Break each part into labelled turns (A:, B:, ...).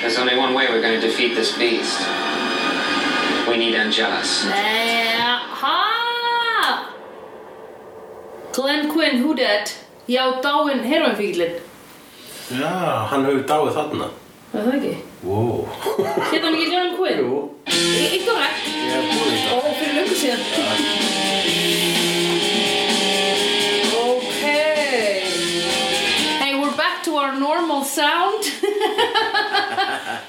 A: There's only one way we're going to defeat this beast. We need Angelus.
B: Nej, ha! Glenn Quinn, who dead? Já, dáinn heroinfíklinn.
C: Já, hann hefur dáið þarna.
B: Var það ekki?
C: Wow.
B: Hérna hann ekki Glenn Quinn?
C: Jú,
B: Í- Eitthvað rætt.
C: ég hef
B: Ó,
C: búið þetta.
B: fyrir löngu síðan. Okay. Hey, we're back to our normal sound.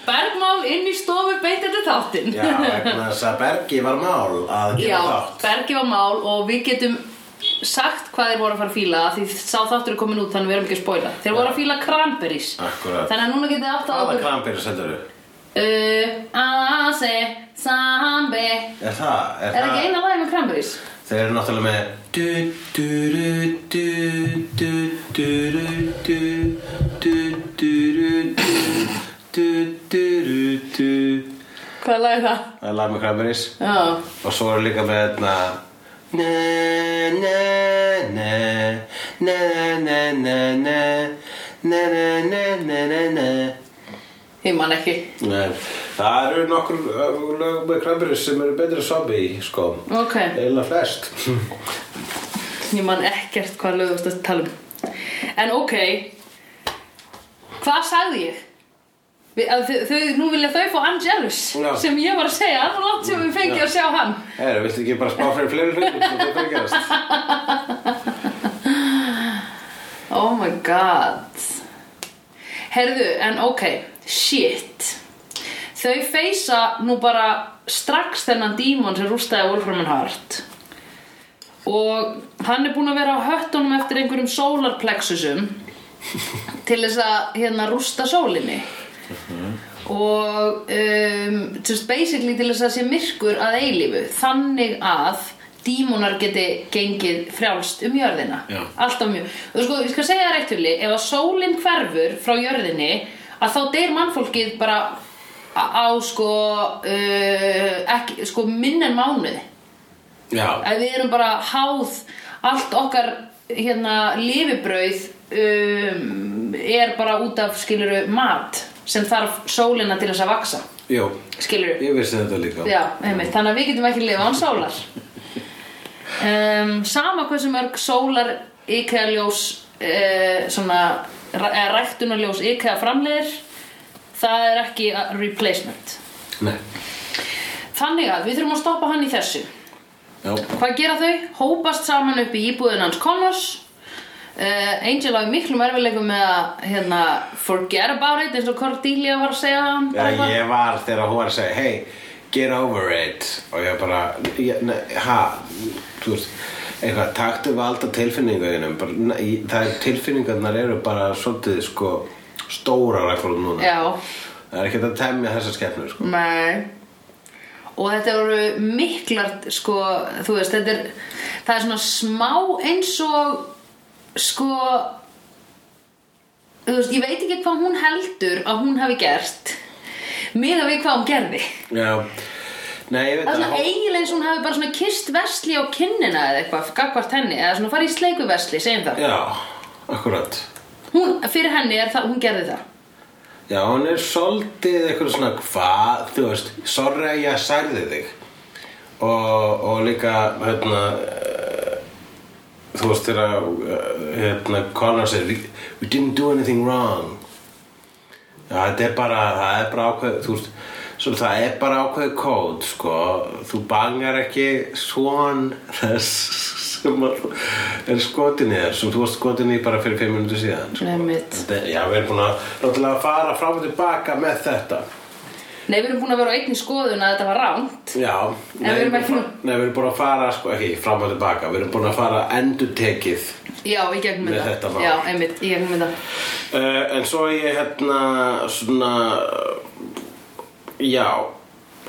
B: Bergmál inn í stofu beitt þetta þáttinn.
C: Já, vegna þess að Bergi var mál að
B: Já,
C: gera þátt.
B: Bergi var mál og við getum sagt hvað þeir voru að fara að fíla af því sá þáttur er komin út þannig við erum ekki að spoila þeir voru að fíla cranberries
C: Akkurat.
B: þannig að núna getið þið átt að
C: Hvaða krampir sendur þú?
B: okkur Ase, Sambe er
C: Er það? Er,
B: ekki eina lagi með cranberries?
C: Þeir eru náttúrulega með du, du, du, du, du, du, du, du, du, du, du, du, du, du, du, du.
B: Hvað lagi það?
C: Það er lag með krampiris.
B: Já,
C: Og svo eru líka með hérna Ne, ne, ne, ne, ne, ne, ne, ne, ne, ne, ne, ne, ne.
B: ég man ekki
C: Nei, Það eru nokkur uh, lög með krampiris sem eru betri sobi í skóm.
B: Ok,
C: Eila flest.
B: ég man ekkert hvað lögum þetta tala um En ok Hvað sagði ég? Við, að þau, þau, nú vilja þau fá Angelus
C: Já.
B: sem ég var að segja, það var langt sem við fengið
C: Já.
B: að sjá hann
C: Herra, viltu ekki bara spá fyrir fleiri hlutum sem þetta er gerast?
B: Oh my god Herðu, en ok Shit Þau feysa nú bara strax þennan dímon sem rústaði Wolfram and Heart og hann er búinn að vera á höttunum eftir einhverjum sólarplexusum til þess að hérna rústa sólinni og um, just basically til þess að sé myrkur að eilífu þannig að dímonar geti gengið frjálst um jörðina
C: Já.
B: alltaf mjög og sko, ég skal segja það reitt huli ef að sólinn hverfur frá jörðinni að þá deyr mannfólkið bara á á, sko, uh, ekki, sko minn en mánuði
C: Já,
B: að við erum bara háð allt okkar hérna lifibrauð um, er bara út af skiluru mat sem þarf sólina til þess að vaksa
C: jú,
B: skiluru,
C: ég vissi þetta líka
B: já, einmitt þannig að við getum ekki lifa án sólar um, sama hversu mörg sólar IKEA ljós uh, svona eða ræktunarljós IKEA framleiðir það er ekki a replacement
C: Nei,
B: þannig að við þurfum að stoppa hann í þessu
C: já,
B: Hvað gera þau? Hópast saman upp í íbúðin hans Connors uh, Angel á í miklum erfileikum með að hérna, forget about it eins og Cordelia var að segja hann
C: já ég var þegar hún var að segja Hey, get over it Og ég bara, ég, ne, ha Þú veist, eitthvað, taktu valda tilfinningunum bara, ne, í- Það er tilfinningarnar eru bara svolítið sko stórar að fórum núna
B: Já,
C: Það er ekki að temja þessar skepnur sko
B: nei Og þetta voru miklar, sko, þú veist, þetta er Það er svona smá eins og, sko Þú veist, ég veit ekki hvað hún heldur að hún hafi gert Miðað við hvað hún gerði
C: Já, nei, ég veit
B: Það er
C: að
B: svona eiginlega eins og hún hafi bara svona kist vesli á kinnina eða eitthvað, gagvart henni, eða svona farið í sleiku vesli, segjum það.
C: Já, akkurat
B: Hún, fyrir henni er það, hún gerði það.
C: Já, hún er svolítið eitthvað svona hvað, þú veist, sorry að ég særði þig og, og líka, hérna eh, þú veist þegar eh, hérna, Connor segir "We- we didn't do anything wrong Já, þetta er bara, það er bara ákveð, þú veist Svo það er bara ákveðið kód, sko Þú bangar ekki svon þess sem að er skotin í þér sem þú varst skotin í bara fyrir 5 minútur síðan sko.
B: Nei, mitt.
C: Þetta er- Já, við erum búin að náttúrulega fara fram og tilbaka með þetta
B: Nei, við erum búin að vera á einni skoðun að þetta var rámt.
C: Já, nei,
B: við erum
C: búin að
B: ekki
C: fara- nei, við erum búin að fara, sko, ekki fram og tilbaka Við erum búin að fara endurtekið
B: Já, í gegnum
C: Með
B: þetta.
C: þetta mál.
B: Já, einmitt, í gegnum þetta.
C: Uh, en svo er ég hérna svona já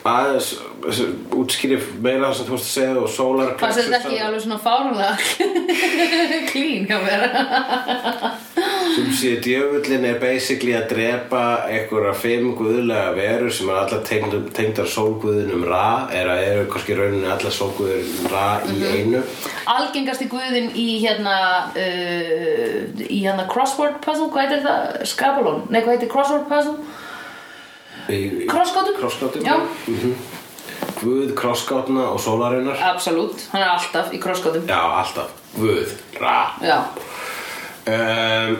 C: aðeins útskýri meira það sem þú vorst að segja og sólar
B: Hvað sem þetta ekki alveg svona fárunlega klín hjá mér.
C: sem sé djöfullin er basically að drepa einhverja fimm guðlega veru sem er allar tengd, tengdar sólguðinum ra er að eru kannski rauninni allar sólguðinum ra í einu
B: Algengasti guðin í hérna, uh, í hérna crossword puzzle, hvað heitir það? Skabalón? Nei, hvað heitir crossword puzzle?
C: Í- í-
B: Krossgátum?
C: Krossgátum,
B: Já.
C: mhm. Guð krossgátna og sólarinnar
B: Absolutt, hann er alltaf í krossgóðum
C: Já, alltaf Guð, ra
B: Já,
C: um,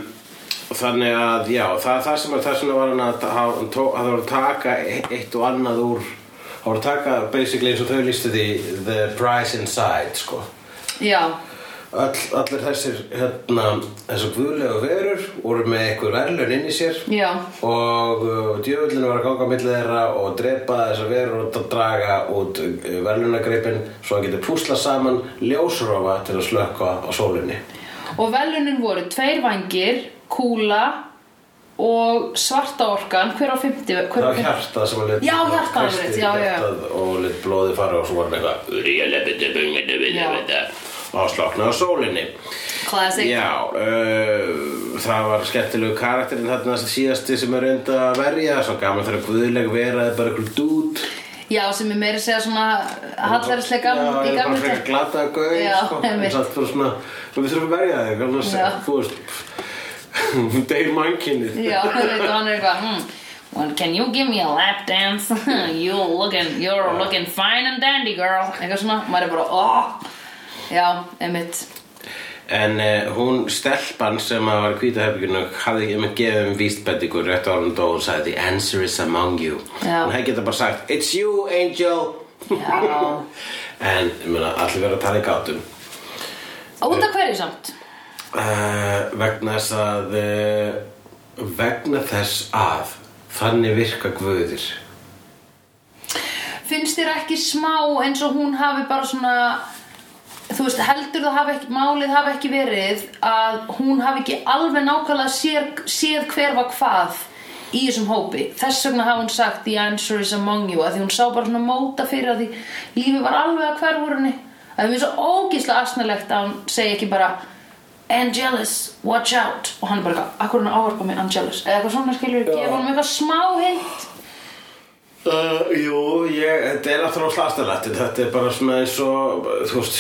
C: Þannig að, já, það, það sem það sem var hann að, að, að það voru að taka e-, eitt og annað úr Það voru að taka, basically, eins og þau listu því The price inside, sko
B: já,
C: All, allir þessir hérna, þessar guðlegu verur voru með einhver verðlun inn í sér
B: Já.
C: og uh, djöfullin var að ganga á milli þeirra og drepa þessar verur og draga út uh, verðlunagreipin svo hann getur púsla saman ljósrofa til að slökka á sólinni
B: og velunin voru tveir vangir, kúla og svarta orkan hver á 50
C: það
B: hver á
C: var
B: 50
C: hjartað sem hann lit
B: Já, hjartað var rétt, já, já.
C: og lit blóði fara og svo var hann eitthvað og sloknaði á sólinni
B: Classic
C: Já, uh, það var skemmtilegu karakterinn þarna síðasti sem er reynda að verja Svo gaman þegar guðleg vera eða bara ykkur dút
B: Já, sem er meira að segja svona hallærislega
C: Já,
B: í
C: eða bara
B: gamla
C: frekar
B: dag
C: glata að gauð
B: Já,
C: sko,
B: einmitt.
C: En satt fyrir svona, svo við þurfum að verja þig annars,
B: Já.
C: Þú veist, deyr mannkynnið
B: Já, þú veit, og hann er eitthvað hmm, well, Can you give me a lap dance? you looking, you're looking fine and dandy girl Eitthvað svona, maður er bara oh. Já, emitt
C: En uh, hún stelpan sem að var í kvítahefinginu hafði ekki með gefið um vísbendingu rétt á hann dó og sagði The answer is among you
B: Já.
C: Hún hefði geta bara sagt It's you angel
B: Já.
C: En ég meina, allir verða að tala í gátum
B: Og út af hverju samt?
C: uh, Vegna þess að uh, Vegna þess að Þannig virka guðir
B: Finnst þér ekki smá eins og hún hafi bara svona Þú veist, heldur það hafi ekki, málið hafi ekki verið að hún hafi ekki alveg nákvæmlega sér, séð hver var hvað í þessum hópi. Þess vegna hafi hún sagt the answer is among you að því hún sá bara svona móta fyrir að því lífið var alveg að hverfur henni. Það er mér svo ógíslega asnalegt að hún segi ekki bara Angelus, watch out og hann er bara eitthvað, akkur hann ávarpa mig Angelus eða eitthvað svona skilur, gefa hann eitthvað smá hint
C: Uh, jú, ég, þetta er aftur á slastalegt Þetta er bara svona eins og Þú veist,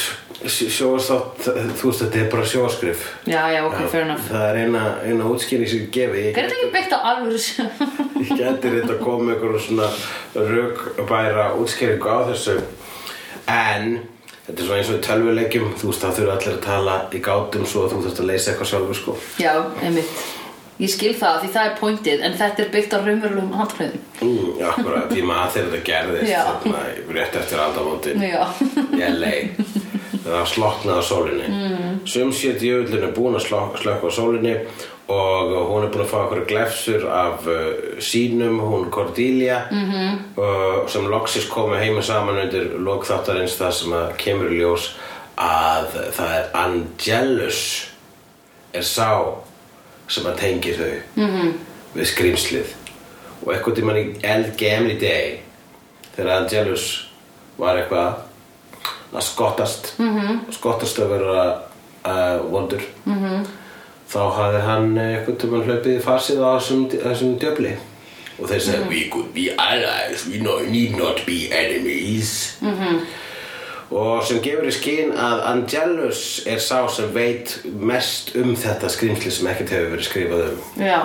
C: sjóðastátt Þú veist, þetta er bara sjóðaskrif
B: Já, já, ok, fair enough
C: Það er eina, eina útskýring sem ég gefi Ég-
B: Er þetta ekki byggt á alvöru sem?
C: Ég gæti reynda að koma með einhverjum svona rökbæra útskýringu á þessu En þetta er svona eins og í tölvuleikjum Þú veist það þurfa allir að tala í gátum svo að þú þurft að leysa eitthvað sjálfur sko
B: Já, einmitt Ég skil það því það er pointið en þetta er byggt á raunverulegum handhverfum
C: mm, Akkurat, ég maður þegar þetta gerðist
B: Já.
C: þarna rétt eftir aldamóti
B: Já,
C: Ég lei Það sloknaði á sólinni mm. Sum sé djöfullin er búin að slok- slökka á sólinni og hún er búin að fá einhverju glefsur af uh, sínum, hún Cordelia -hmm.
B: Mhm.
C: uh, sem loksis komu heima saman undir lokþáttarins það sem að kemur í ljós að það er Angelus er sá sem að tengir þau -hmm. við skrýmslið og eitthvað tímann í eldgemli deg þegar Angelus var eitthvað að skottast -hmm. skottast að vera uh, vondur -hmm. þá hafði hann eitthvað tímann hlaupið í farsið á þessum, þessum djöfli og þeir segja we could be allies, we no, need not be enemies -hmm. og sem gefur í skinn að Angelus er sá sem veit mest um þetta skrýmsli sem ekkert hefur verið skrifað um
B: já,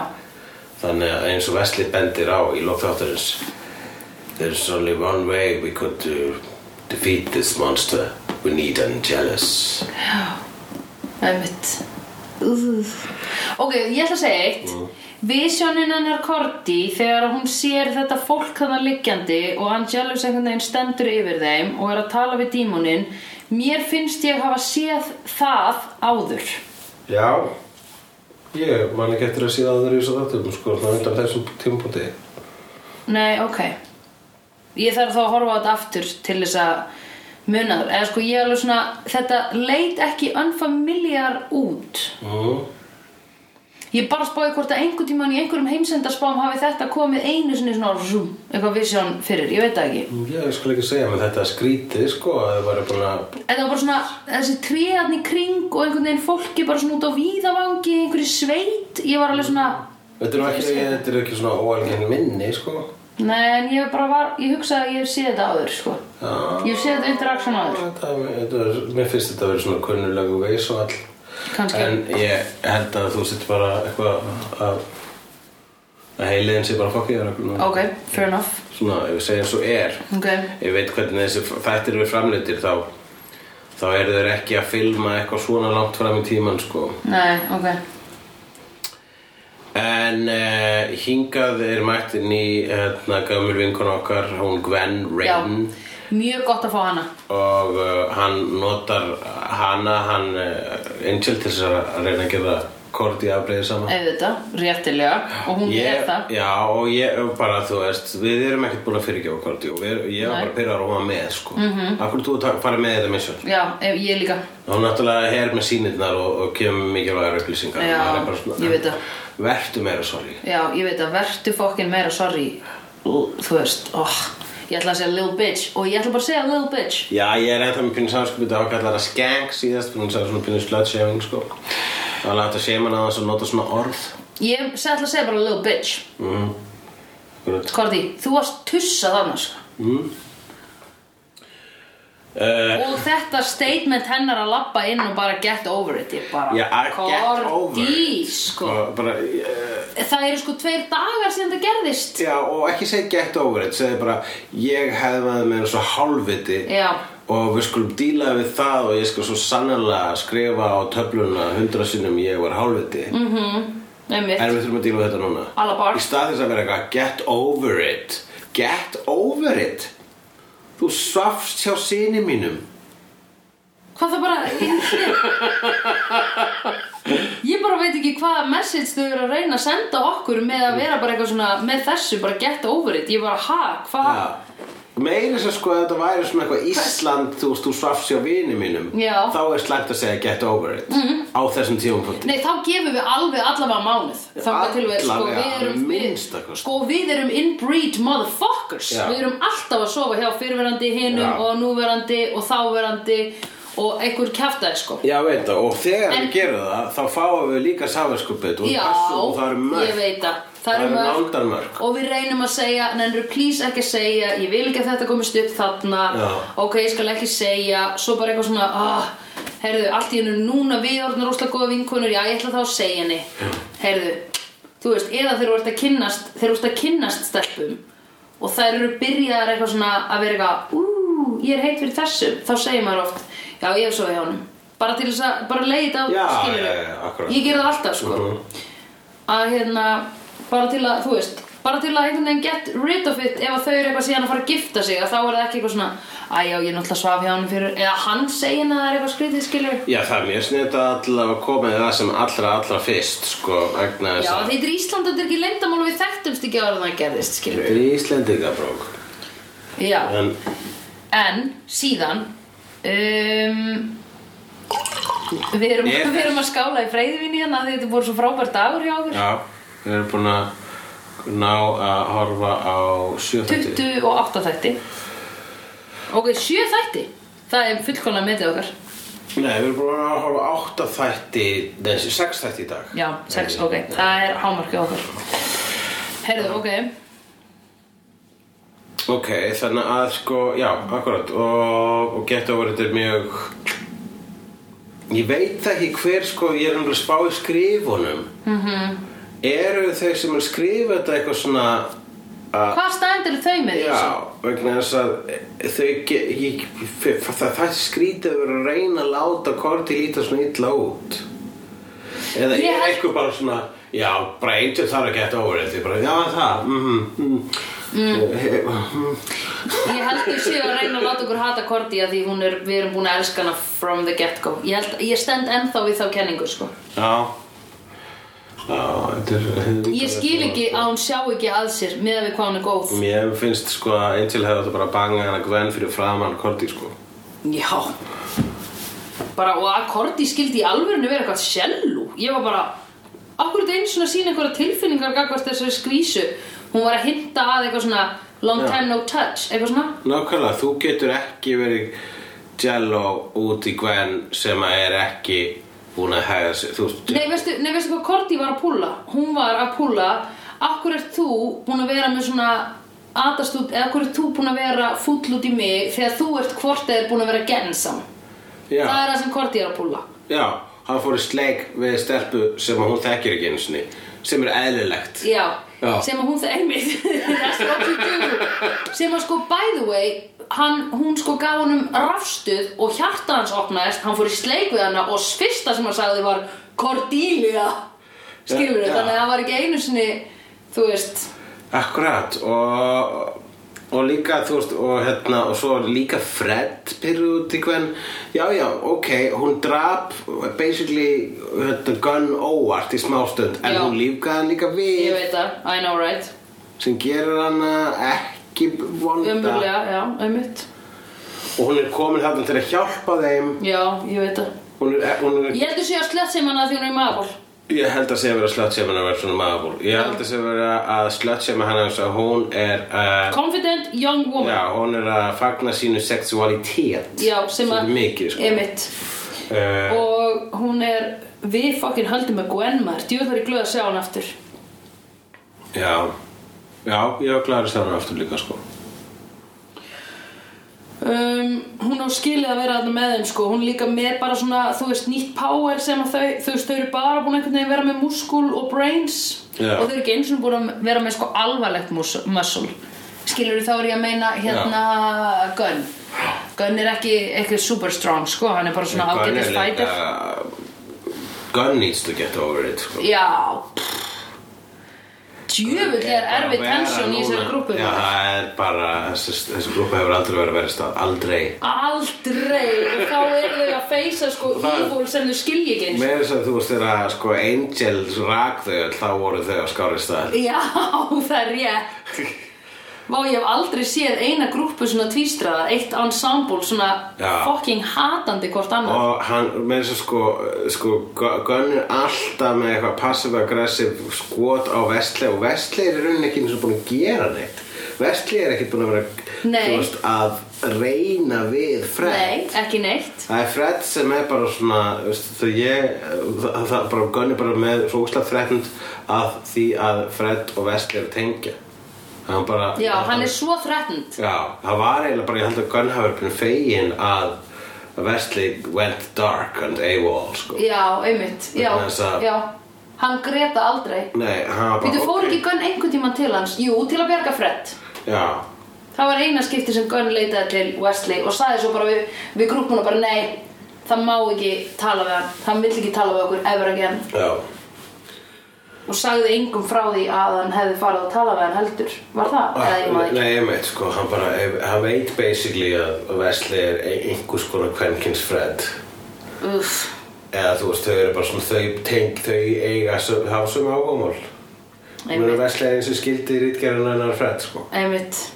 C: Þannig að eins og Vesli bendir á í lokþáttarins There's only one way we could uh, defeat this monster We need Angelus
B: einmitt Úff. Ok, ég ætla að segja eitt Visionin hennar Korti þegar hún sér þetta fólk þannig liggjandi og Angelus einhvern veginn stendur yfir þeim og er að tala við dímonin Mér finnst ég hafa séð það áður
C: Já Ég man ekki eftir að síða að það eru í þessu þáttum sko, það undan þessum tímpúti
B: Nei, ok Ég þarf þá að horfa á þetta aftur til þess að muna það eða sko ég alveg svona, þetta leit ekki unfamiliar út
C: mm.
B: Ég bara spáði hvort að einhvern tímann í einhverjum heimsendarspám hafi þetta komið einu sinni svona rúm, eitthvað visjón fyrir, ég veit það ekki
C: Mm, Ég skal ekki segja með þetta skrítið sko að það væri búin að
B: Þetta var bara svona þessi tréðarni kring og einhvern veginn fólki bara svona út á víðavangi, einhverju sveit Ég var alveg svona,
C: Þetta er ekki, þetta er ekki svona óalginn minni sko
B: nei en ég bara var, ég hugsaði að ég hef séð þetta áður sko
C: Já.
B: Ég hef séð þetta interaction áður,
C: Þetta, þetta er, mér finnst þetta að vera svona kunnulegu veis og all
B: kannski
C: En ég held að þú sitt bara eitthvað að að heiliðin sé bara fokkið þér okkur núna.
B: Ok, fair enough
C: Svona, ef við segjum svo er,
B: Ok,
C: ég veit hvernig þessi þættir við framleitir þá, þá eru þeir ekki að filma eitthvað svona langt fram í tímann, sko.
B: nei, ok
C: En uh, hingað er mættin í hérna, gömul vinkon okkar, hún Gwen
B: Já,
C: Rain
B: mjög gott að fá hana
C: og uh, hann notar hana, hann uh, Angel til þess að reyna að gera korti afbreyði saman.
B: Auðvitað, réttilega Eh, Og hún
C: Ég-
B: er það
C: Já, og ég og bara, þú veist, við erum ekkert búin að fyrirgefa korti og við, ég
B: Nei. Mhm.
C: var bara að pyrra að róma með, sko. Mm -hmm. Akkur þú að fara með þetta misjón?
B: Já, ef- ég líka
C: Hún náttúrulega er með sýnirnar og, og kemur mikilvægar upplýsingar.
B: Já,
C: Maður er bara svona,
B: ég veit það.
C: Vertu meira sorry.
B: Já, ég veit að vertu fokkin meira sorry L- Þú veist, oh, ég ætla að segja little bitch Og ég ætla bara að segja little bitch
C: Já, ég er ennþá með pínu samskipið að kallar það skeng síðast, fyrir hún sagði svona pínu slutshaving, sko. Það var lægt að séma hana þess að nota svona orð.
B: Ég seg- ætla að segja bara little bitch
C: Mm. Grut.
B: Korti, þú varst tussað annars
C: Uh,
B: Og þetta statement hennar að labba inn og bara get over it Ég bara,
C: Já, I get over it.
B: Korti, sko
C: og bara, uh,
B: Það eru sko tveir dagar sem þetta gerðist
C: já, og ekki segja get over it, segja bara, ég hefði maður með þessu hálfviti
B: Já,
C: og við skulum díla við það og ég skal svo sannlega skrifa á töfluna hundra sinnum ég var hálfviti. Mm. En
B: einmitt
C: við þurfum að díla við þetta núna.
B: Alla bar.
C: Í stað þess að vera eitthvað get over it. Get over it. Þú svafst hjá sinni mínum.
B: Hvað það bara ég, ég bara veit ekki hvaða message þau eru að reyna að senda okkur með að vera bara eitthvað svona með þessu, bara get over it ég bara, ha, hvað?
C: Já. Meira sem sko að þetta væri svona eitthvað Ísland, þú veist, þú svafst hjá vini mínum.
B: Já.
C: Þá er slæmt að segja get over it. Mm -hmm. Á þessum tíumpunkti.
B: Nei, þá gefum við alveg allavega mánuð Þannig til við, sko,
C: Allavega,
B: við erum
C: að minnsta kosti.
B: Sko, við erum inbreed motherfuckers
C: Já.
B: Við erum alltaf að sofa hjá fyrirverandi hinum
C: Já.
B: og núverandi og þáverandi og einhver kjaftaði, sko
C: Já, veit það, og þegar
B: En-
C: við gerum það, þá fáum við líka safinskupið og,
B: Já,
C: þessu og það eru mörg.
B: ég veit það
C: Það eru
B: mörg.
C: náldarmörk.
B: Og við reynum að segja, nennur please ekki að segja Ég vil ekki að þetta komist upp þarna
C: Já.
B: Ok, ég skal ekki segja Svo bara eitthvað svona ah, Herðu, allt í hennu núna við orðin rosalega góða vinkonur Já, ég ætla þá að segja henni Herðu, þú veist, eða þegar þú ert að kynnast Þegar þú ert að kynnast stelpum Og þær eru byrjaðar eitthvað svona að vera eitthvað Ú, ég er heit fyrir þessum Þá segir maður oft, já, ég hef svo hjá honum Bara til þess að, bara leið á
C: Já, já, já, já, akkúrat.
B: Ég ger það alltaf, sko
C: Mhm.
B: að hérna bara til að, þú veist bara til að einhvern veginn get rid of it ef að þau eru eitthvað síðan að fara að gifta sig að þá er það ekki eitthvað svona að já, ég er náttúrulega svaf hjá hann fyrir eða hann segir henni að það er eitthvað skrítið skilur
C: Já, það er mjög sniðt að allavega koma í það sem allra, allra fyrst, sko, vegna
B: já,
C: þess að...
B: þetta er Ísland, þetta er ekki leyndamála við þekktumst ekki ára það gerðist skilur
C: Þetta er Íslendingabrók
B: já,
C: En
B: en síðan um, við, erum,
C: Ég-
B: við erum að skála í freyðvinni hérna af því þetta voru svo frábær dagur hjá okkur
C: já, við erum búin að ná að horfa á sjöfætti
B: 28 þætti ok, 7 þætti það er fullkomlega metið okkar
C: Nei, við erum búin að horfa á átta þætti, nei, sex þætti í dag
B: Já, sex, ok, það er hámarkið okkar Herðu, ok
C: Uh, Ok, þannig að sko, já, akkurat og, og geta voru þetta er mjög ég veit ekki hver sko, ég er umlega spá í skrifunum mm
B: Mhm.
C: -hmm. eru þeir sem er skrifa þetta eitthvað svona að
B: Hvað stændir þau með því?
C: Já, vegna þess að þau, ge- ég, það, það skrítið að vera að reyna að láta Korti líta svona illa út eða
B: Ég
C: er
B: held-
C: eitthvað bara svona já, bara Angel þarf að geta over þetta bara, já, það mhm, mm mm.
B: Ég held þau séu að reyna að láta okkur hata Korti að því hún er, við erum búin að elska hana from the get-go ég, held- ég stend ennþá við þá kenningu, sko
C: já já, þetta er
B: Ég skil ekki að hún sjá ekki að sér meðan við hvað hún er góð
C: Mér finnst sko að Angel hefði þetta bara að banga hana Gwen fyrir framan Korti sko
B: Já Bara, og að Korti skildi í alvörinu vera eitthvað sjellu Ég var bara, akkur þetta einu svona sína einhverja tilfinningar gagvart þessari skvísu Hún var að hinta að eitthvað svona long
C: Já.
B: time no touch, eitthvað svona
C: Nákvæmlega, þú getur ekki verið jello út í Gwen sem að er ekki búin að hega sig þú veist,
B: Nei veistu, nei, veistu hvað Korti var að púla? Hún var að púla Akkur ert þú búin að vera með svona atast út, eða akkur ert þú búin að vera fúll út í mig þegar þú ert hvort eða búin að vera gensam
C: já,
B: Það er það sem Korti er að púla
C: já, hann fór í sleik við stelpu sem að hún þekkir ekki einu sinni sem er eðlilegt
B: Já,
C: Já.
B: sem að hún það einmitt That's what you do. sem að sko by the way hann, hún sko gaf honum rafstuð og hjarta hans opnaðist hann fór í sleik við hana og fyrsta sem hann sagði var Cordelia skilur
C: Ja,
B: við,
C: ja.
B: þannig að hann var ekki einu sinni þú veist
C: Akkurat og, og líka þú veist og, hérna, og svo líka Fred pyrru út í hvern já já ok hún drap basically hérna, gun óvart í smástund en
B: Já.
C: hún lífgaði hann líka
B: ég
C: við
B: veit það, I know right
C: sem gerir hann ekki vonda
B: umurlega, já, ummitt
C: og hún er komin þarna til að hjálpa þeim
B: já, ég veit það
C: hún er, hún er,
B: ég heldur sé að slett sem hann að því hún er í maður
C: ég held að segja verið að slötsema að vera svona maður ég held að segja verið að slötsema hann eins og hún er uh,
B: confident young woman
C: Já, hún er að fagna sínu sexualitet
B: Já, sem að
C: Svolítið mikið, sko
B: Einmitt.
C: uh,
B: og hún er við fokkin höldum með Gwen maður djúð þar ég glöð að sjá hann aftur
C: Já Já, ég var glæður að sjá hana aftur líka, sko
B: um, hún á skilið að vera þarna með þeim sko. hún er líka með bara svona þú veist nýtt power sem að þau þú veist þau eru bara búin einhvern veginn að vera með muskul og brains
C: Já.
B: og þau eru ekki eins og búin að vera með sko alvarlegt mus- muscle skilur þá er ég að meina hérna Gunn Gunn er ekki eitthvað super strong sko hann er bara svona
C: Gunn
B: ágætis
C: er
B: fighter
C: líka- Gun needs to get over it, sko
B: Já Djöfull er erfið
C: Bara
B: tensjón í þessari
C: vera núna-
B: grúpu
C: Já,
B: maður.
C: það er bara, þessi, þessi grúpa hefur aldrei verið að vera stað Aldrei
B: Aldrei Og þá eru þau að feysa sko
C: Það-
B: evil sem þau skilji ekki eins
C: Með þess að þú veist þegar að, sko, Angels rak þau öll, þá voru þau á skári stað
B: Já, það er rétt Vá, ég hef aldrei séð eina grúpu svona tvístraða Eitt ensemble svona
C: Já.
B: fucking hatandi hvort annað
C: Og hann, með þess að sko, sko Gunn er alltaf með eitthvað passive-aggressive skot á Vestley og Vestley er í rauninni ekki eins og búin að gera neitt Vestley er ekki búin að vera
B: Nei.
C: þú veist, að reyna við Fred
B: Nei, ekki neitt
C: Það er Fred sem er bara svona þú veist, þegar ég, það, það bara Gunn er bara með svo úslega þrettund að því að Fred og Vestley eru tengja Hann bara
B: Já, hann er svo þrettend
C: Já, það var eiginlega bara, ég held að Gunn hafi verið búin fegin að Wesley went dark and AWOL, sko.
B: Já, einmitt Já,
C: Vegna þess að-
B: já Hann greta aldrei
C: Nei, hann var bara...
B: Býtu, fór
C: ok.
B: ekki Gunn einhvern tímann til hans? Jú, til að bjarga Fred
C: Já,
B: Það var eina skipti sem Gunn leitaði til Wesley og sagði svo bara við, við grúppuna bara nei, það má ekki tala við hann, hann vill ekki tala við okkur ever again
C: já.
B: og sagði engum frá því að hann hefði farið að tala við hann heldur, var það? Eða ég maður ekki
C: Ah, Nei, ég veit, sko, hann bara, hann veit basically að Wesley er ein- einhvers konar kvenkins Fred.
B: Uff,
C: Eða þú veist, þau eru bara svona, þau teng, þau eiga, sö- hafa sömu ágómál. Mér er
B: einmitt,
C: Wesley er eins og skildi rítgerðan hennar Fred, sko.
B: einmitt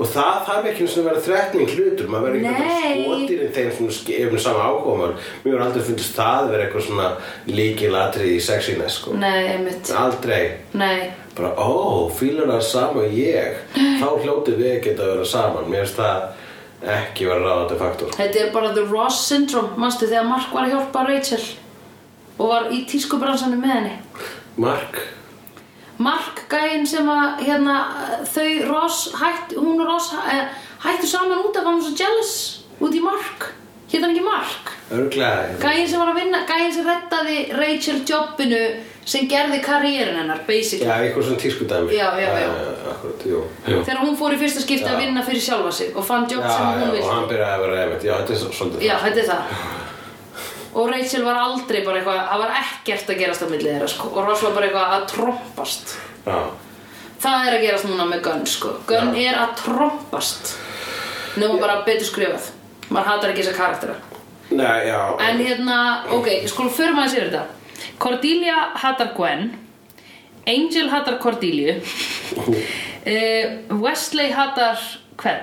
C: Og það þarf ekki eins og að vera þrætning hlutur, maður verður ekki bara
B: Nei.
C: skotir en þeim svona ske- ef með sama ákomar. Mér hefur aldrei fundist það vera eitthvað svona líkilatrið í sexiness, sko.
B: Nei, einmitt,
C: Aldrei.
B: nei
C: Bara, ó, fílar það sama og ég, þá hljótið við að geta að vera saman. Mér finnst það ekki vera ráðandi faktor.
B: Þetta er bara the Ross syndrome, manstu þegar Mark var að hjálpa Rachel og var í tískubransanum með henni
C: Mark?
B: Mark gæinn sem að hérna, þau Ross, hætt, hún og Ross eh, hættu saman út af hann var svo jealous út í Mark hérna ekki Mark
C: Örglega.
B: gæinn sem var að vinna, gæinn sem rettaði Rachel jobbinu sem gerði karriérin hennar, basically
C: Já, eitthvað svona tískudæmi.
B: Já, já, já.
C: Eh, Akkurat, jú. jú.
B: þegar hún fór í fyrsta skipti
C: Já.
B: að vinna fyrir sjálfa sig og fann jobb
C: Já,
B: sem
C: já,
B: hún
C: og hann
B: vildi
C: byrjaði að vera einmitt. Já, þetta er svo- svolítið
B: já,
C: það.
B: þetta er það og Rachel var aldrei bara eitthvað það var ekkert að gerast á milli þeirra sko. og Ross var bara eitthvað að trompast
C: Já.
B: Það er að gerast núna með Gunn sko Gunn er að trompast Nefnum bara betur skrifað Maður hatar ekki þessa karaktera
C: Nei, já.
B: En hérna, ok, skulum förum aðeins yfir þetta Cordelia hatar Gwen Angel hatar Cordelia uh, Wesley hatar hvern?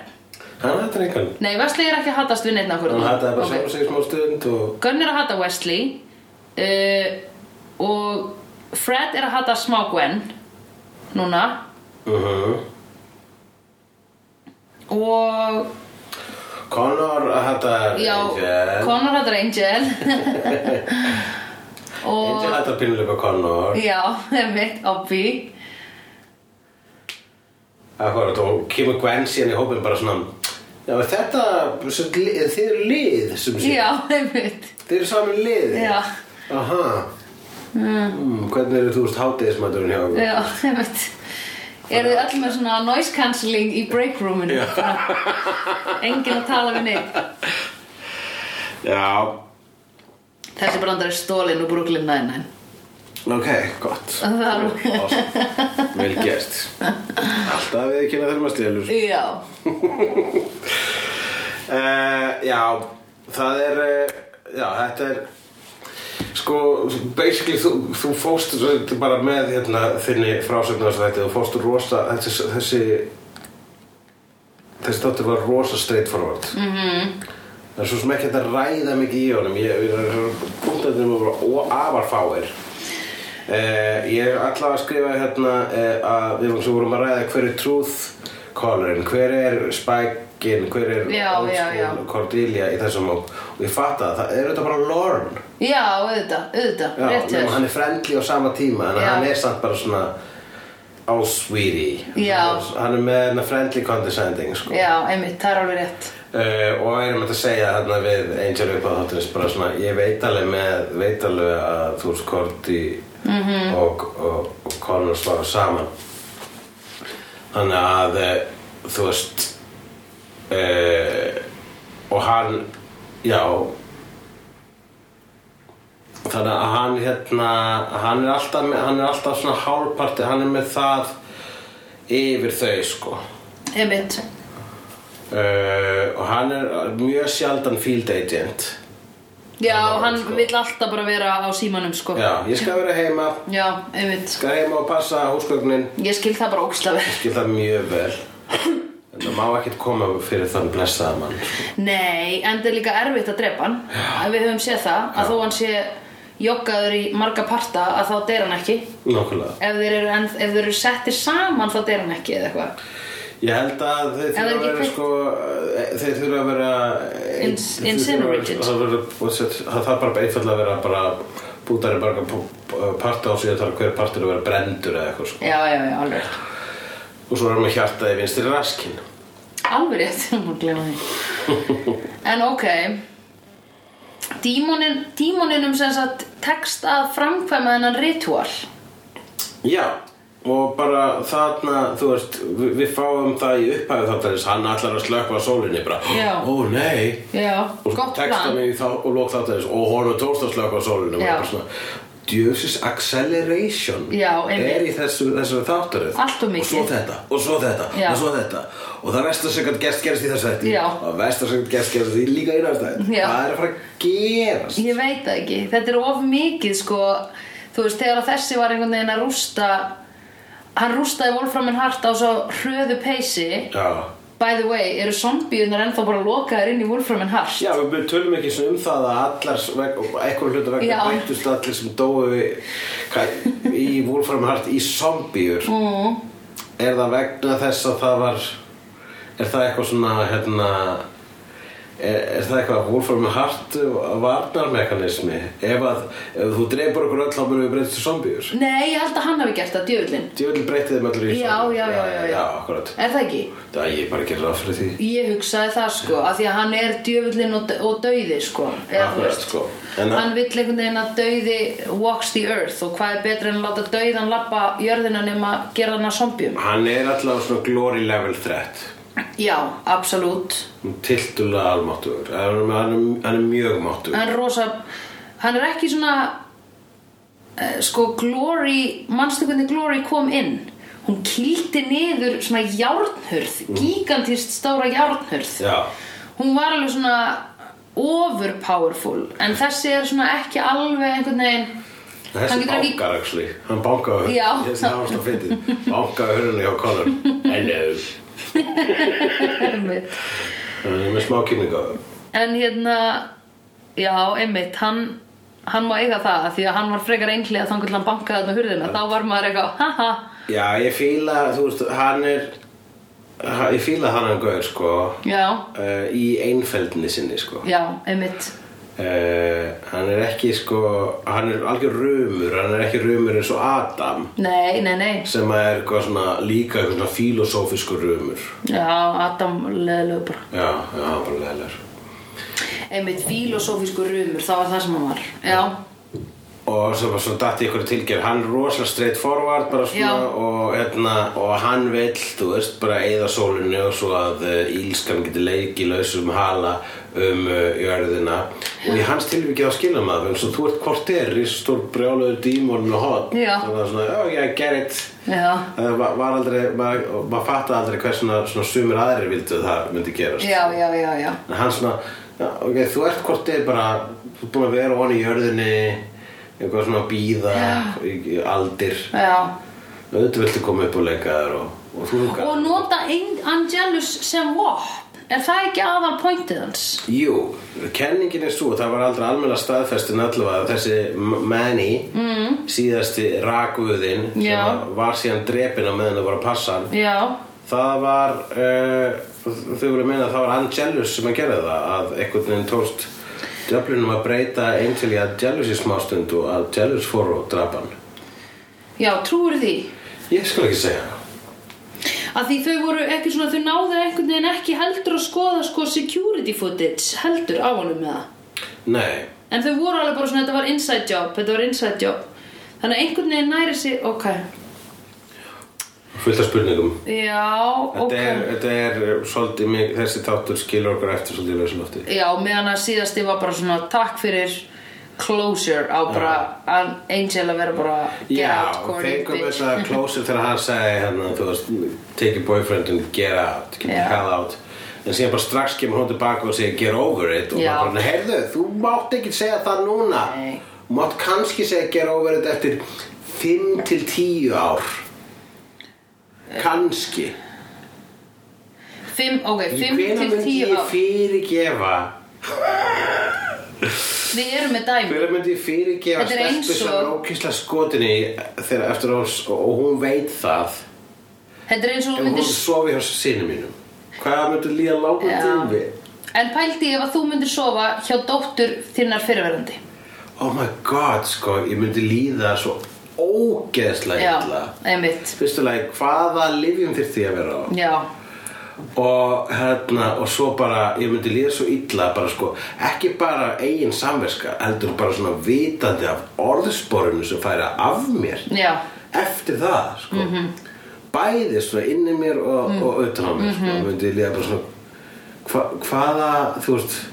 C: Hann hættir engan
B: Nei, Wesley er ekki að hatast við neitt nákvæmlega
C: Hann hætti bara
B: Ok.
C: sjálf sig í smá stund og
B: Gunn er að hata Wesley uh, og Fred er að hata smá Gwen núna
C: uh
B: og
C: Connor hættar
B: Já,
C: Angel
B: Connor hættar Angel og
C: Angel hættar pinnulega Connor
B: já, mitt Obby
C: Akkurat og kemur Gwen síðan í hópin bara svona Já, er þetta, sem, li- þið eru lið sem sé,
B: já, mitt
C: þið eru saman lið
B: Já.
C: Hmm, Aha mm. Hvernig eru þú veist hátíðismæturinn hjá okkur?
B: já, mitt Eru þið öll með svona noise cancelling í break roominu?
C: Já.
B: Bara Enginn að tala við neitt.
C: Já,
B: Þessi brandar er stólinn úr Brooklyn Nine-Nine.
C: ok, gott
B: Það var-
C: Awesome. Vel gert Alltaf við ekki að þurfum að stelur
B: Já.
C: uh, Já, það er uh, Já, þetta er Sko, basically þú, þú fóst svo bara með hérna, þinni frásögnarsvætti þú fóst rosa, þessi þessi, þessi þáttur var rosa straightforward mm
B: Mhm.
C: -hmm. það er svo sem ekki hægt að ræða mikið í honum ég, ég, punktarnir voru o- afar fáir Uh, ég er allavega að skrifa hérna uh, að við vorum, svo vorum að ræða hver er truth callerinn, hver er spækin, hver er
B: Já,
C: old
B: já, já.
C: school Cordelia í þessum hóp og ég fatt að það er þetta bara Lorne
B: Já, auðvitað, auðvitað,
C: Já,
B: rétt hjá
C: nema
B: þér.
C: hann er friendly á sama tíma en
B: Já.
C: hann er samt bara svona all sweetie
B: Já.
C: hann er með hennar friendly condescending sko.
B: Já, einmitt, það er alveg rétt.
C: uh, og erum þetta að segja hérna við Angel upp á þátturins bara svona ég veit alveg með, veit alveg að þú veist Korti -hmm. og, og, og Connor svara saman þannig að eh, þú veist uh, og hann já þannig að hann hérna hann er alltaf, með- hann er alltaf svona hálparti hann er með það yfir þau sko
B: Einmitt.
C: Uh, og hann er mjög sjaldan field agent
B: Já,
C: Hann var
B: hann
C: sko-
B: vill alltaf bara vera á símanum, sko.
C: Já, ég skal vera heima
B: Já, einmitt.
C: skal heima og passa húsgögnin
B: Ég skil það bara ógislega vel.
C: skil það mjög vel en það má ekkert koma fyrir þann blessaða mann sko.
B: Nei, en það er líka erfitt að drepa hann að við höfum séð það, að
C: Já.
B: þó hann sé joggaður í marga parta að þá deyr hann ekki
C: Nákvæmlega
B: ef þeir eru, en, ef þeir eru settir saman þá deyr hann ekki eða eitthvað
C: Ég held að þeir
B: það er
C: þurfa að
B: ekki
C: vera
B: kveikt-
C: sko eh, þeir þurfa að vera eh,
B: Ins-
C: þeir þurfa að vera-
B: incinerated.
C: það verður- what's it- það þarf bara einfallega að vera bara bútari bara parta og síðan þarf hver partur að vera brendur eða eitthvað sko.
B: Já, já, já, alveg rétt.
C: og svo erum við hjartaði vinstri raskinn
B: Alveg rétt, ég má glemma því En ok Dímonin, dímoninum sem sagt tekst að framkvæma þennan ritual
C: Já, og bara þarna, þú veist, við, við fáum það í upphæðu þáttarins, hann ætlar að slökva sólinni bara,
B: Já.
C: ó nei
B: Já,
C: og
B: gott
C: texta
B: plan
C: mig í þá, og lók þáttarins og honum tókst að slökva sólinni og
B: Já.
C: bara svona, djöfsis acceleration
B: Já, einmitt.
C: er í þessu, þessu þáttarið
B: Allt of mikið.
C: og svo þetta, og svo þetta,
B: Já.
C: og svo þetta og það vestar sem gætt gerst gerist í þessu þetta
B: Já.
C: og vestar sem gætt gerst gerist í líka í næsta þetta
B: Já.
C: það er að fara að gerast
B: Ég veit það ekki, þetta er of mikið sko Þú veist, þegar að þessi var einhvern veginn að rústa Hann rústaði Wolframin Hart á svo hröðu peysi
C: Já.
B: By the way, eru zombiunar ennþá bara lokaðir inn í Wolframin Hart
C: Já, við tölum ekki svona um það að allar veg, eitthvað hluta vegna
B: Já.
C: bættust allir sem dóu í, hvað- í Wolfram Hart í zombíur
B: mm.
C: er það vegna þess að það var er það eitthvað svona hérna Er, er það eitthvað að Wolfram Hart varnarmekanismi? Ef, að, ef þú dreipur okkur öll þá munum við breytist í zombíur.
B: Nei, ég held að hann hafi gert það, djöfullinn
C: Ég vil breytið þeim allir í
B: já, já, já, já, já,
C: Já, akkurat.
B: Er það ekki?
C: Það ég bara gerir ráð fyrir því.
B: Ég hugsaði það sko, af því að hann er djöfullinn og, og dauði sko eða þú
C: Akkurat,
B: veist.
C: sko. En-
B: Hann vill einhvern veginn að dauði walks the earth og hvað er betra en að láta dauðan labba jörðina nema gera hann að zombium
C: Hann er allavega svona glory level threat.
B: Já, absolutt
C: Tiltulega almáttugur hann, er- hann, er- hann er mjög máttugur
B: Hann er rosa, hann er ekki svona eh, sko glory, manstu hvernig glory kom inn Hún kýldi niður svona járnhurð, gigantist stóra járnhurð
C: Mm. Já,
B: hún var alveg svona over powerful en þessi er svona ekki alveg einhvern veginn
C: þessi
B: Hann getur ekki-
C: bankar actually Hann bankaði
B: Já.
C: Þessi það var svo fyndið Bankaði hörunni hjá Conor Hello
B: einmitt.
C: Hann er með smá kynninga
B: en hérna já, einmitt, hann hann má eiga það af því að hann var frekar einhlega þangur til hann bankaði þarna hurðina þá var maður eitthvað, haha
C: Já, ég fíla, þú veist, hann er ha- Ég fíla hann hann gauður, sko
B: já,
C: uh, Í einfeldni sinni, sko
B: já, einmitt
C: uh, Hann er ekki, sko Hann er algjör rumur Hann er ekki rumur eins og Adam
B: nei, nei, nei
C: Sem að er eitthvað svona líka eitthvað svona filosófiskur rumur
B: já, Adam leðilegu bara
C: Já, já, hann var leðilegur
B: einmitt filosófísku rumur, það var það sem hann var já,
C: og svo, svo datt í ykkur tilgerð hann er rosalega straight forward bara svona
B: Já.
C: og, hérna, og hann vill, þú veist, bara eyða sólinu og svo að uh, ílskan geti leiki lausum hala um uh, jörðina og í hans tilviki á skilja maður eins og þú ert hvort er í svo stór brjálaður dímon með hot
B: Já.
C: þannig að svona, oh yeah, get it
B: Já,
C: það var, var aldrei, maður mað fatta aldrei hvers svona, svona sumir aðrir vildu að það myndi gerast
B: já, já, já, já.
C: En hann svona, já, ok, þú ert hvort þið bara, þú ert búin að vera honi í jörðinni, eitthvað svona að býða, í, í aldir.
B: já.
C: Auðvitað viltu koma upp og leika þér og, og þú hugga.
B: Og nota Ein- Angelus sem vopn Er það ekki aðal pointið hans?
C: Jú, kenningin er svo, það var aldrei almennilega staðfestin allavega að þessi M- Manny, mm. síðasti rakuðinn, sem
B: Já.
C: að var síðan drepin á meðan það var að passa hann,
B: Já,
C: það var, uh, þau voru að meina að það var Angelus sem að gera það, að einhvern veginn tókst djöflunum að breyta einn til í Angelus í smástund og Angelus fór og draf hann.
B: já, trúir því
C: Ég skal ekki segja það.
B: Að því þau voru ekki svona, þau náðu einhvern veginn ekki heldur að skoða sko security footage heldur á honum með það
C: Nei,
B: En þau voru alveg bara svona, þetta var inside job, þetta var inside job Þannig að einhvern veginn næri sig, ok
C: fullt af spurningum.
B: Já,
C: Þetta,
B: ok
C: er, þetta er eh, svolítið mig, þessi þáttur skilur okkur eftir svolítið í lauslofti.
B: Já, meðan að síðasti var bara svona takk fyrir closure á bara an, Angel að vera bara get
C: Já,
B: out, corny
C: fengum
B: bitch.
C: þess að closer þegar hann sagði hérna, þú veist, take your boyfriend and get out, get
B: Já.
C: the hell out en síðan bara strax kemur hún tilbaka og segir get over it og
B: Já.
C: maður bara, heyrðu, þú mátt ekki segja það núna
B: Nei.
C: Þú mátt kannski segja get over it eftir 5 til 10 ár kannski
B: Fimm, ok, fimm
C: hvenær
B: til
C: myndi
B: tíu
C: ég
B: ár
C: fyrirgefa
B: Við erum með dæmi
C: hvenær myndi ég fyrirgefa
B: Þetta er eins
C: stelpu sem
B: og-
C: er ókísla skotinni þegar eftir ás og hún veit það
B: Þetta er eins og þú
C: Ef hún
B: myndir
C: sofi hjá sinni mínum Hvað myndir líða langur
B: Já.
C: tími?
B: En pældi ef að þú myndir sofa hjá dóttur þinnar fyrirverandi
C: Oh my god, sko, ég myndi líða svo ógeðslega illa
B: Já, einmitt
C: Fyrstu lagi, hvaða livjum þyrfti ég að vera á?
B: Já,
C: Og hérna, og svo bara, ég myndi líða svo illa bara sko Ekki bara eigin samverska, heldur bara svona vitandi af orðsporinu sem færi af mér
B: já,
C: Eftir það, sko
B: Mhm.
C: Bæði svona inni mér og, og utan á mér,
B: Mhm.
C: sko Myndi ég líða bara svona hva, Hvaða, þú veist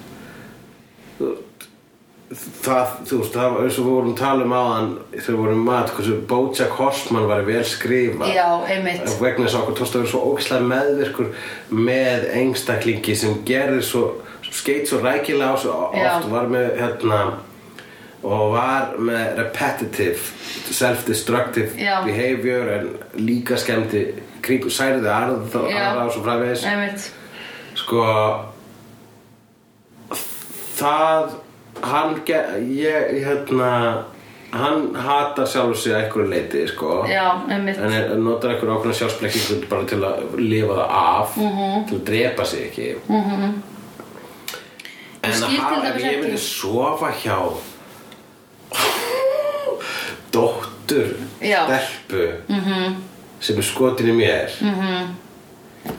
C: það, þú veist, það var eins og við vorum að tala um áðan þegar við vorum í mat, hversu Bojack Horseman var vel skrifað
B: Já, einmitt.
C: vegna þess að okkur tókst að vera svo ógislega meðvirkur með engstaklingi sem gerir svo, sem skeit svo rækilega á svo oft
B: Já.
C: var með, hérna og var með repetitive self-destructive
B: Já.
C: behavior en líka skemmti kringu særiði aðra þá
B: Já.
C: aðra og svo fræðis
B: einmitt
C: sko það hann ge- ég hérna hann hatar sjálfur sig að einhverju leiti sko
B: Já, einmitt.
C: en er, notar einhverju ákveðna sjálfsblekkingu bara til að lifa það af
B: Mhm.
C: -hmm. til að drepa sig ekki -hmm.
B: Ég
C: en
B: Mhm. skil
C: að
B: til
C: hafa ef
B: dæmis
C: ég
B: ekki.
C: myndi sofa hjá dóttur
B: Já. Mhm.
C: stelpu -hmm. sem er skotin í mér -hmm.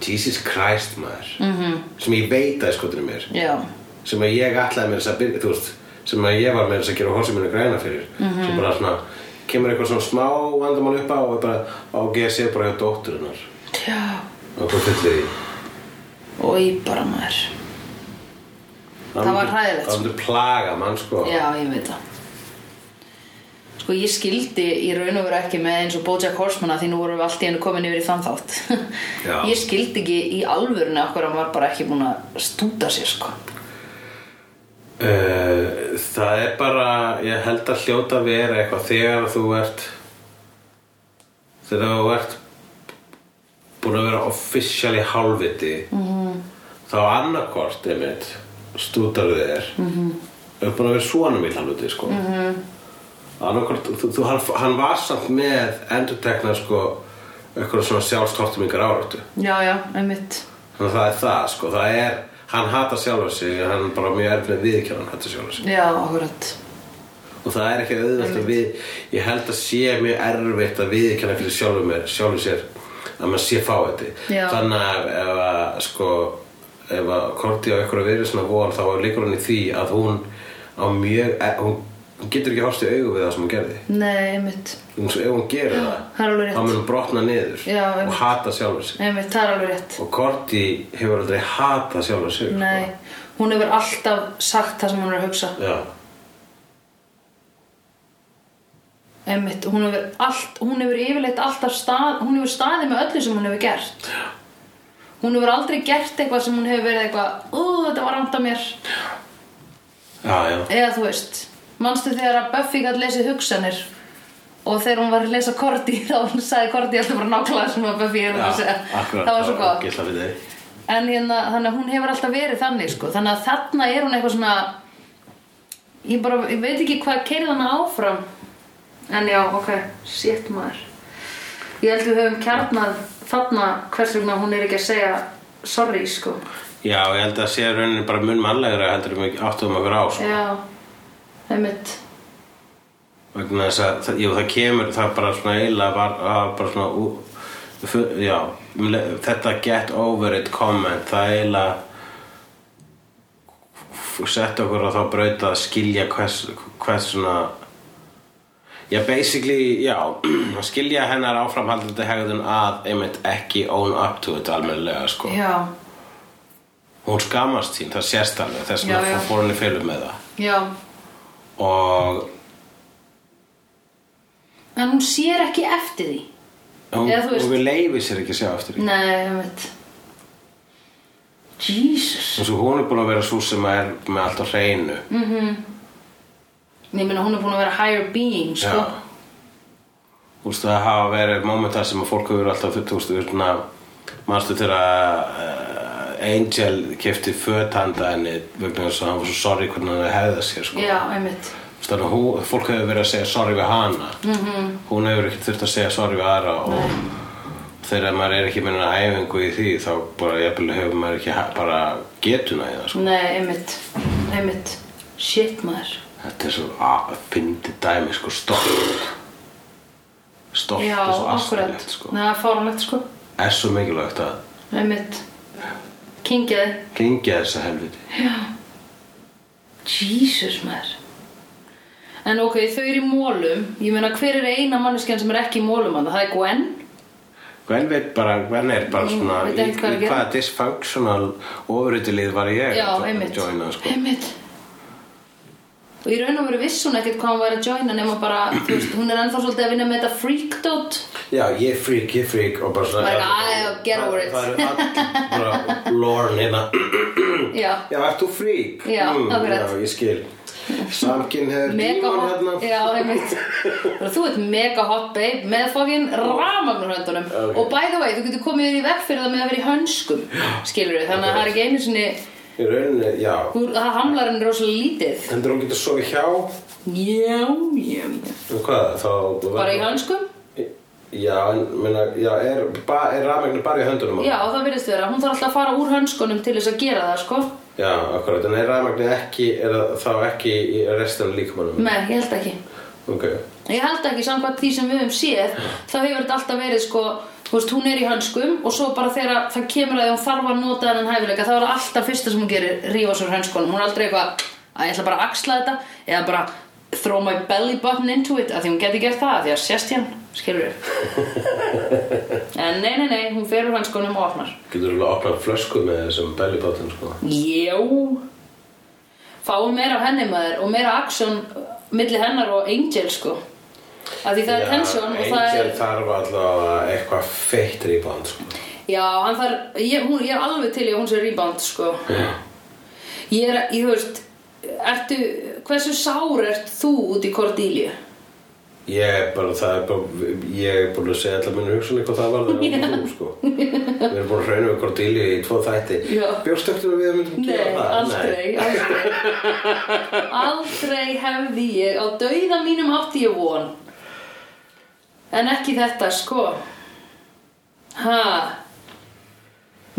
C: Jesus Christ maður -hmm.
B: Mhm.
C: sem ég veit að er skotin í mér
B: Já,
C: sem að ég ætlaði mér þess að byrja, þú veist sem að ég var með þess að gera hósi mínu græna fyrir
B: Mhm.
C: sem bara svona, kemur eitthvað svona smá vandamál upp á og bara á GSE bara hjá dótturinnar
B: já
C: og hvað fyllir því
B: Og í bara maður Það var hræðilegt,
C: Það
B: sko.
C: myndi plaga mann sko
B: Já, ég veit það Sko, ég skildi í raun og veru ekki með eins og Bojack Horseman að því nú vorum við allt í hennu komin yfir í þann þátt
C: Já.
B: Ég skildi ekki í alvörunni af hverju hann var bara ekki búin að stúta sér, sko
C: Eh, Það er bara, ég held að hljóta að vera eitthvað þegar þú ert þegar þú ert búin að vera officially hálfviti -hmm. þá annarkort einmitt stútar þér mm -hmm. er búin að vera svona mill hálfviti sko mm -hmm. annarkort, þú, þú, hann, hann var samt með endurtekna sko eitthvað svona sjálfstortumingar áratu
B: Já, já, einmitt
C: þannig að það er það sko, það er hann hatar sjálfa sig, hann er bara mjög erfnið viðkjörn hann hatar sjálfa sig
B: Já, akkurat
C: og það er ekki auðvelt að við ég held að sé mjög erfitt að viðkjanna fyrir sjálfum mér, sjálfum sér að maður sé fá þetta
B: Já.
C: þannig að ef að sko ef að Korti á ykkur að vera svona von þá líkur hann í því að hún á mjög eh, hún hún getur ekki horfst í augu við það sem hún gerði
B: Nei, einmitt
C: hún, ef hún gerir
B: það er
C: það,
B: alveg rétt.
C: þá mun hún brotna niður
B: Já,
C: og
B: einmitt.
C: hata sjálfur sig
B: Einmitt, það er alveg rétt
C: og Korti hefur aldrei hata sjálfur sig sko.
B: Nei, hún hefur alltaf sagt það sem hún er að hugsa
C: já,
B: Einmitt, hún hefur, allt, hún hefur yfirleitt alltaf stað, hún hefur staðið með öllu sem hún hefur gert. Hún hefur aldrei gert eitthvað sem hún hefur verið eitthvað, ú, þetta var ramt á mér.
C: já, já
B: Eða þú veist, manstu þegar að Buffy gætt lesið hugsanir og þegar hún var að lesa Korti þá hún sagði Korti alltaf bara nákvæmlega sem að Buffy er
C: Já,
B: að segja.
C: akkurat,
B: það var svo
C: var
B: gott.
C: ógeðslega fyndið.
B: En hérna, þannig að hún hefur alltaf verið þannig, sko. Þannig að þarna er hún eitthvað svona, ég bara, ég veit ekki hvað keirði hana áfram. En já, ok, shit maður. Ég held við höfum kjarnað þarna hvers vegna hún er ekki að segja sorry, sko.
C: Já, ég held að sé rauninni bara mun mannlegra heldur um ekki áttum okkur á sko.
B: Já, einmitt.
C: vegna þess að það, jú, það kemur það bara svona eiginlega var, að bara svona ú, fu- já, um leið- þetta get over it comment það eiginlega f- sett okkur á þá braut að skilja hvers, hvers svona já, basically, já að skilja hennar áframhaldandi hegðun að einmitt ekki own up to it almennilega, sko
B: Já,
C: hún skamast sín, það sést alveg þess
B: Já, já.
C: að fór henni fylgum með það
B: já.
C: og
B: En hún sér ekki eftir því.
C: hún,
B: Eða þú veist-
C: hún við leifi sér ekki að sjá eftir því
B: Nei, einmitt. Jesus.
C: eins og hún er búin að vera svo sem er með allt á hreinu mm,
B: Ég meina, hún er búin að vera higher being, sko.
C: þú veist það hafa verið momentar sem að fólk hefur alltaf þú veist svona manstu þegar að uh, Angel kefti fötanda henni vegna þess að hann var svo sorry hvernig hann hefði hegðað sér sko.
B: Já, einmitt.
C: Þú veist, þannig að hún, fólk hefur verið að segja sorry við hana -hmm.
B: Mhm.
C: hún hefur ekki þurft að segja sorry við aðra og þegar maður er ekki með henni æfingu í því þá bara jafnvel hefur maður ekki ha- bara getuna í það sko.
B: Nei, einmitt, einmitt Shit maður
C: Þetta er svo að fyndi dæmi sko stolt Stolt
B: Já,
C: er svo
B: akkurat
C: afturlegt sko
B: Nei, það er fáránlegt sko
C: Er svo mikilvægt að
B: Einmitt Kingjaði
C: gengja þessa helviti
B: Jesus maður En ok, þau eru í mólum Ég meina, hver er eina manneskjan sem er ekki í mólum að það er Gwen
C: Gwen veit bara, Gwen er bara
B: Hún
C: svona
B: veit
C: Í,
B: ekkert hvað er að
C: í
B: gera.
C: hvaða dysfunctional ofurutilið var ég
B: Já,
C: að
B: einmitt
C: joina, sko.
B: Einmitt Og í raun og veru viss hún ekkert hvað hún var að joina nema bara, þú veist, hún er ennþá svolítið að vinna með þetta freakdót
C: Já, ég freak, ég freak Og bara svona
B: Bara, "Ah, get over it."
C: Það, það eru all, bara Lauren hérna
B: Já,
C: Já, ert þú freak? Mm,
B: Já, akkurat.
C: Já, ég skil Samkinn hefur
B: mega
C: dímon
B: hot
C: hérna
B: já, einmitt Bara, þú ert mega hot babe með fokkin ramagnur höndunum
C: Ok.
B: og by the way, þú getur komið þér í vekk fyrir það með að vera í hönskum skilur við, þannig að það er ekki einu sinni
C: Í rauninni, já
B: þú- það hamlar henni rosalega lítið
C: Hendur hún getur sofið hjá
B: já, já, já.
C: Og hvað, þá...
B: bara í hönskum
C: Já, en, minna, já, er, ba, er rafmagnu bara í höndunum? á honum?
B: já, það virðist vera, hún þarf alltaf að fara úr hönskunum til þess að gera það, sko
C: Já, akkurat, en er rafmagnu ekki, er það þá ekki í restan líkamannum?
B: nei, ég held ekki
C: Ok,
B: Ég held ekki samkvæmt því sem við höfum séð þá hefur þetta alltaf verið sko þú veist, hún er í hönskum og svo bara þegar það kemur að því hún þarf að nota hennan hæfileika þá er það alltaf fyrsta sem hún gerir rífa sér úr hönskunum hún er aldrei eitthvað að ég ætla bara að axla þetta eða bara throw my belly button into it af því hún geti gert það af því að sérst hjá hann skilur við en nei nei nei, hún fer úr hönskunum og opnar
C: getur alveg að opna flösku með þessum bellybotin, sko.
B: Já Fáum meira af henni maður og meira action milli hennar og Angel sko Af því það er tension og það
C: Angel
B: er
C: þarf alltaf eitthvað feitt rebound, sko.
B: Já, hann þarf, ég, hún, ég er alveg til í að hún sé rebound sko Ég er, ég veist, ertu, hversu sár ert þú út í Cordelia?
C: Ég er bara, það er bara, ég er búin að segja allar minni hugsun eitthvað það var það á þú, sko. Við erum búin að hrauna við Cordelia í tvo þætti.
B: Já.
C: Bjóstu eftir að við myndum
B: Nei,
C: gera það?
B: aldrei, aldrei Aldrei hefði ég, á dauða mínum átti ég von En ekki þetta, sko Ha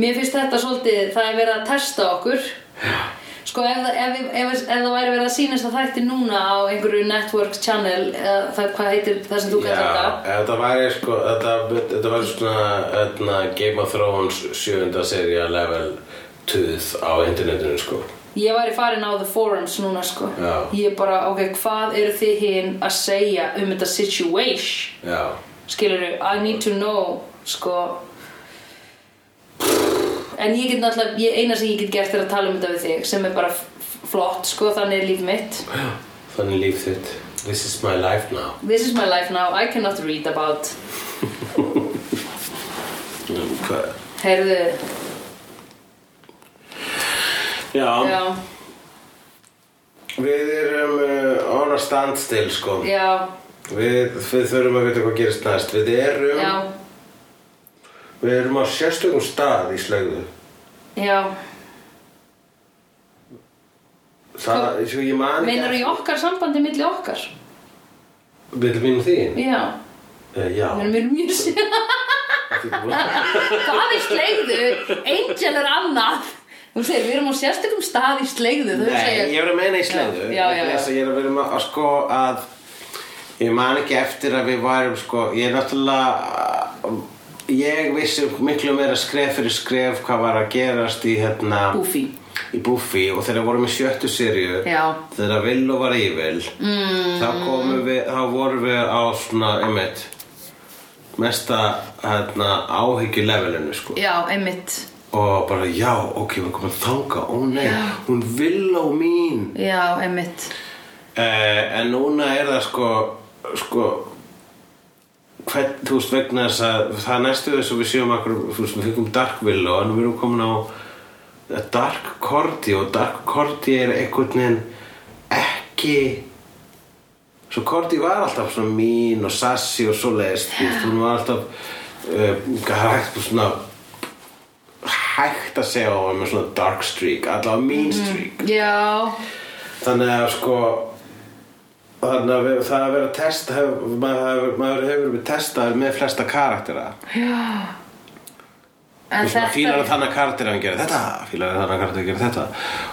B: Mér finnst þetta svolítið, það er verið að testa okkur Sko, ef, það- ef, ef, ef, ef það væri verið að sýnast að þætti núna á einhverju network channel eða það, hvað heitir það sem þú
C: Já,
B: kallar þetta
C: ef þetta væri sko, þetta, þetta væri svona hérna, öðna, Game of Thrones sjöunda sería level 2 á internetinu sko
B: Ég væri farin á the forums núna sko
C: Já.
B: Ég bara, ok, hvað eru þið hinn að segja um þetta situation?
C: já,
B: Skilurðu, I need to know sko En ég get náttúrulega, ég, eina sem ég get gert er að tala um þetta við þig sem er bara f- flott sko, þannig er líf mitt
C: þannig líf þitt This is my life now
B: This is my life now, I cannot read about
C: um, hvað-
B: Heyrðu,
C: Já,
B: já,
C: við erum uh, on a standstill sko
B: já,
C: við, við þurfum að vita hvað gerist næst Við erum,
B: já,
C: við erum á sérstökum stað í slegðu
B: já
C: Það, sko, ég man
B: Meinar í okkar sambandi milli okkar?
C: Við minn þín?
B: Já,
C: Uh, já
B: við erum mjög sér Hvað er slegðu? Angel er annað Þú segir, við erum á sérstökum stað í slegðu Þau segja,
C: Nei, ég er að meina í slegðu
B: Já, já, já,
C: Vegna þess að Ég er að vera með að sko að Ég man ekki eftir að við værum sko Ég er náttúrulega Ég vissi miklu meira skref fyrir skref Hvað var að gerast í hérna
B: Buffy
C: Í Buffy og þegar við vorum í sjöttu sériu
B: Já.
C: Þegar Villó var yfir mm. Þá komum við, þá vorum við á svona, einmitt Mesta hérna, áhyggjulevelinu sko
B: Já, einmitt
C: og bara já, ok, við komum að þanga ó nei, hún vil á mín
B: Já, einmitt
C: eh, en núna er það sko sko hvern, þú veist vegna þess að það næstu þess að við séum akkur þú veist, við fengum Dark Willow en við erum komin á eh, Dark Cordy og Dark Cordy er einhvern veginn ekki svo Cordy var alltaf svona mín og sassi og svo leist hún var alltaf uh, hægt svona hægt að segja á hann með svona dark streak allavega mean streak
B: Já,
C: þannig að sko þannig að við, það að vera test hef, maður, maður hefur verið testaður með flesta karaktera
B: en
C: og svona fílar að
B: þetta
C: þannig karaktera hann gerir þetta fílar að þannig karaktera gerir þetta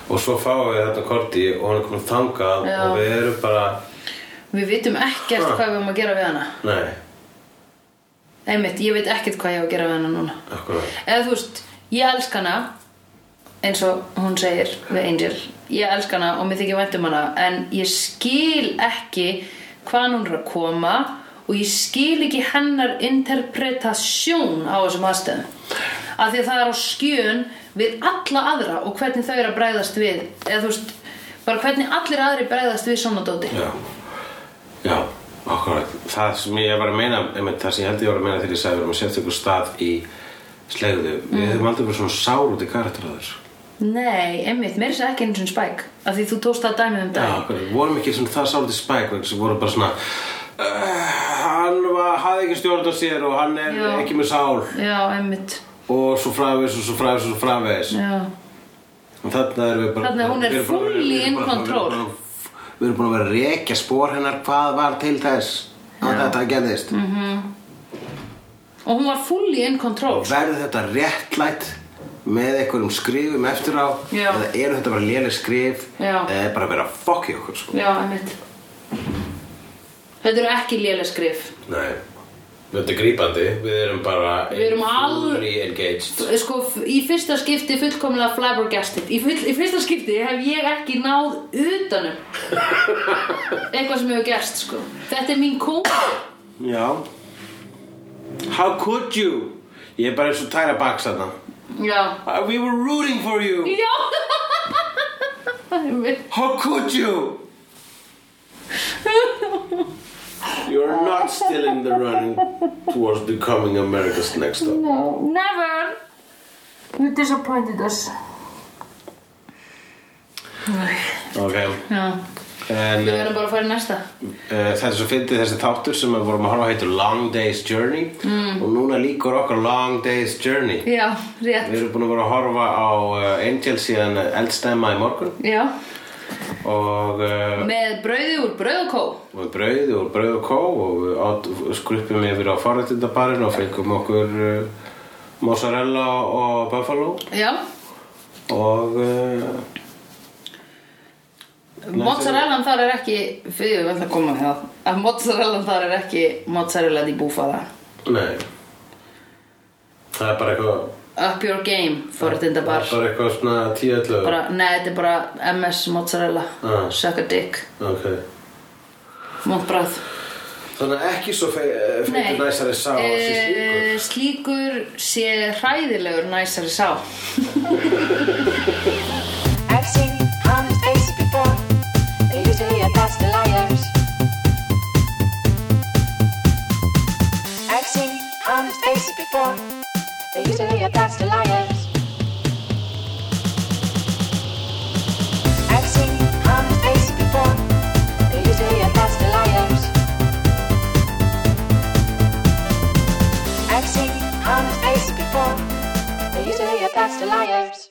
C: og svo fáum við þetta korti og hann er komin þangað
B: Já.
C: og við erum bara
B: Við vitum ekkert
C: Ha.
B: hvað við erum að gera við hana
C: nei,
B: Einmitt, ég veit ekkert hvað ég á að gera við hana núna
C: akkurat
B: Eða þú veist, ég elsk hana eins og hún segir við Angel ég elsk hana og mér þykir vænt um hana en ég skil ekki hvaðan hún er að koma og ég skil ekki hennar interpretasjón á þessum aðstæðum af því að það er á skjön við alla aðra og hvernig þau eru að bregðast við eða þú veist, bara hvernig allir aðri bregðast við svona dóti
C: Já, já, akkurat Það sem ég var að meina, einmitt, það sem ég held ég var að meina þegar ég sagði við erum að setja ykkur stað í slegðu
B: Mm.
C: Við höfum aldrei verið svona sár út í karakteráður
B: Nei, einmitt, mér er það ekki einu sinni spæk af því þú tókst það dæmið um
C: Já,
B: dag
C: akkurat, vorum ekki svona það sár út í spæk vegna sem voru bara svona uh, Hann var, hafði ekki stjórn á sér og hann er
B: Já.
C: ekki með sál
B: Já, einmitt,
C: Og svo fravegis og svo fravegis og svo fravegis
B: já
C: Og Þarna erum við bara
B: Þarna hún er
C: við erum bara-
B: fully
C: við erum
B: in
C: bara-
B: control.
C: Við erum bara- við erum búin að vera að rekja spór hennar hvað var til þess að þetta gerðist
B: Mhm.
C: mm.
B: Og hún var fully in control
C: verður þetta réttlætt með einhverjum skrifum eftir á
B: Já.
C: eða eru þetta bara léleg skrif
B: Já.
C: eða er bara að vera fokk í okkur sko.
B: Já, einmitt Þetta eru ekki léleg skrif
C: Nei, þetta er grípandi við erum bara
B: Við erum alveg-
C: engaged
B: Sko, f- í fyrsta skipti fullkomlega flabbergasted í, full, í fyrsta skipti hef ég ekki náð utanum Eitthvað sem hefur gerst, sko Þetta er mín kóna
C: Já How could you? Ég er bara eins og tæra baks þarna
B: Já
C: Uh, We were rooting for you
B: Já Einmitt.
C: How could you? You're not still in the running towards becoming America's next top
B: No, never You disappointed us
C: Ok,
B: Já,
C: en
B: við verðum bara að fara í næsta
C: Uh, það er svo fyndið þessi þáttur sem við vorum að horfa á heitur Long Day's Journey mm. og núna líkur okkar Long Day's Journey
B: Já, rétt
C: Við erum búin að vera að horfa á uh, Angel síðan eldstemma í morgun
B: Já
C: og uh,
B: Með brauði úr brauðkó
C: og brauð og brauð og kó og við át- skruppum yfir á forrættindabarinn og fengum okkur uh, mozzarella og buffalo
B: Já
C: og uh,
B: Mozzarellan þar er ekki Fyrir við ætlum að koma með það Að mozzarellan þar er ekki mozzarella di búfala
C: nei það er bara eitthvað
B: up your game forréttinda bar
C: Það var eitthvað svona 10-11
B: bara, nei, þetta er bara MS mozzarella
C: Ah.
B: suck a dick,
C: Ok
B: montbráð
C: Þannig að ekki svo fe- eh, feitur næsari sá að sé slíkur
B: Eh, slíkur sé hræðilegur næsari sá
D: I've seen honest faces before. They're usually a pass to liars. I've seen honest faces before. They're usually a pass to liars. I've seen honest faces before. They're usually a pass to liars. I've seen honest faces before. They're usually a pass to liars.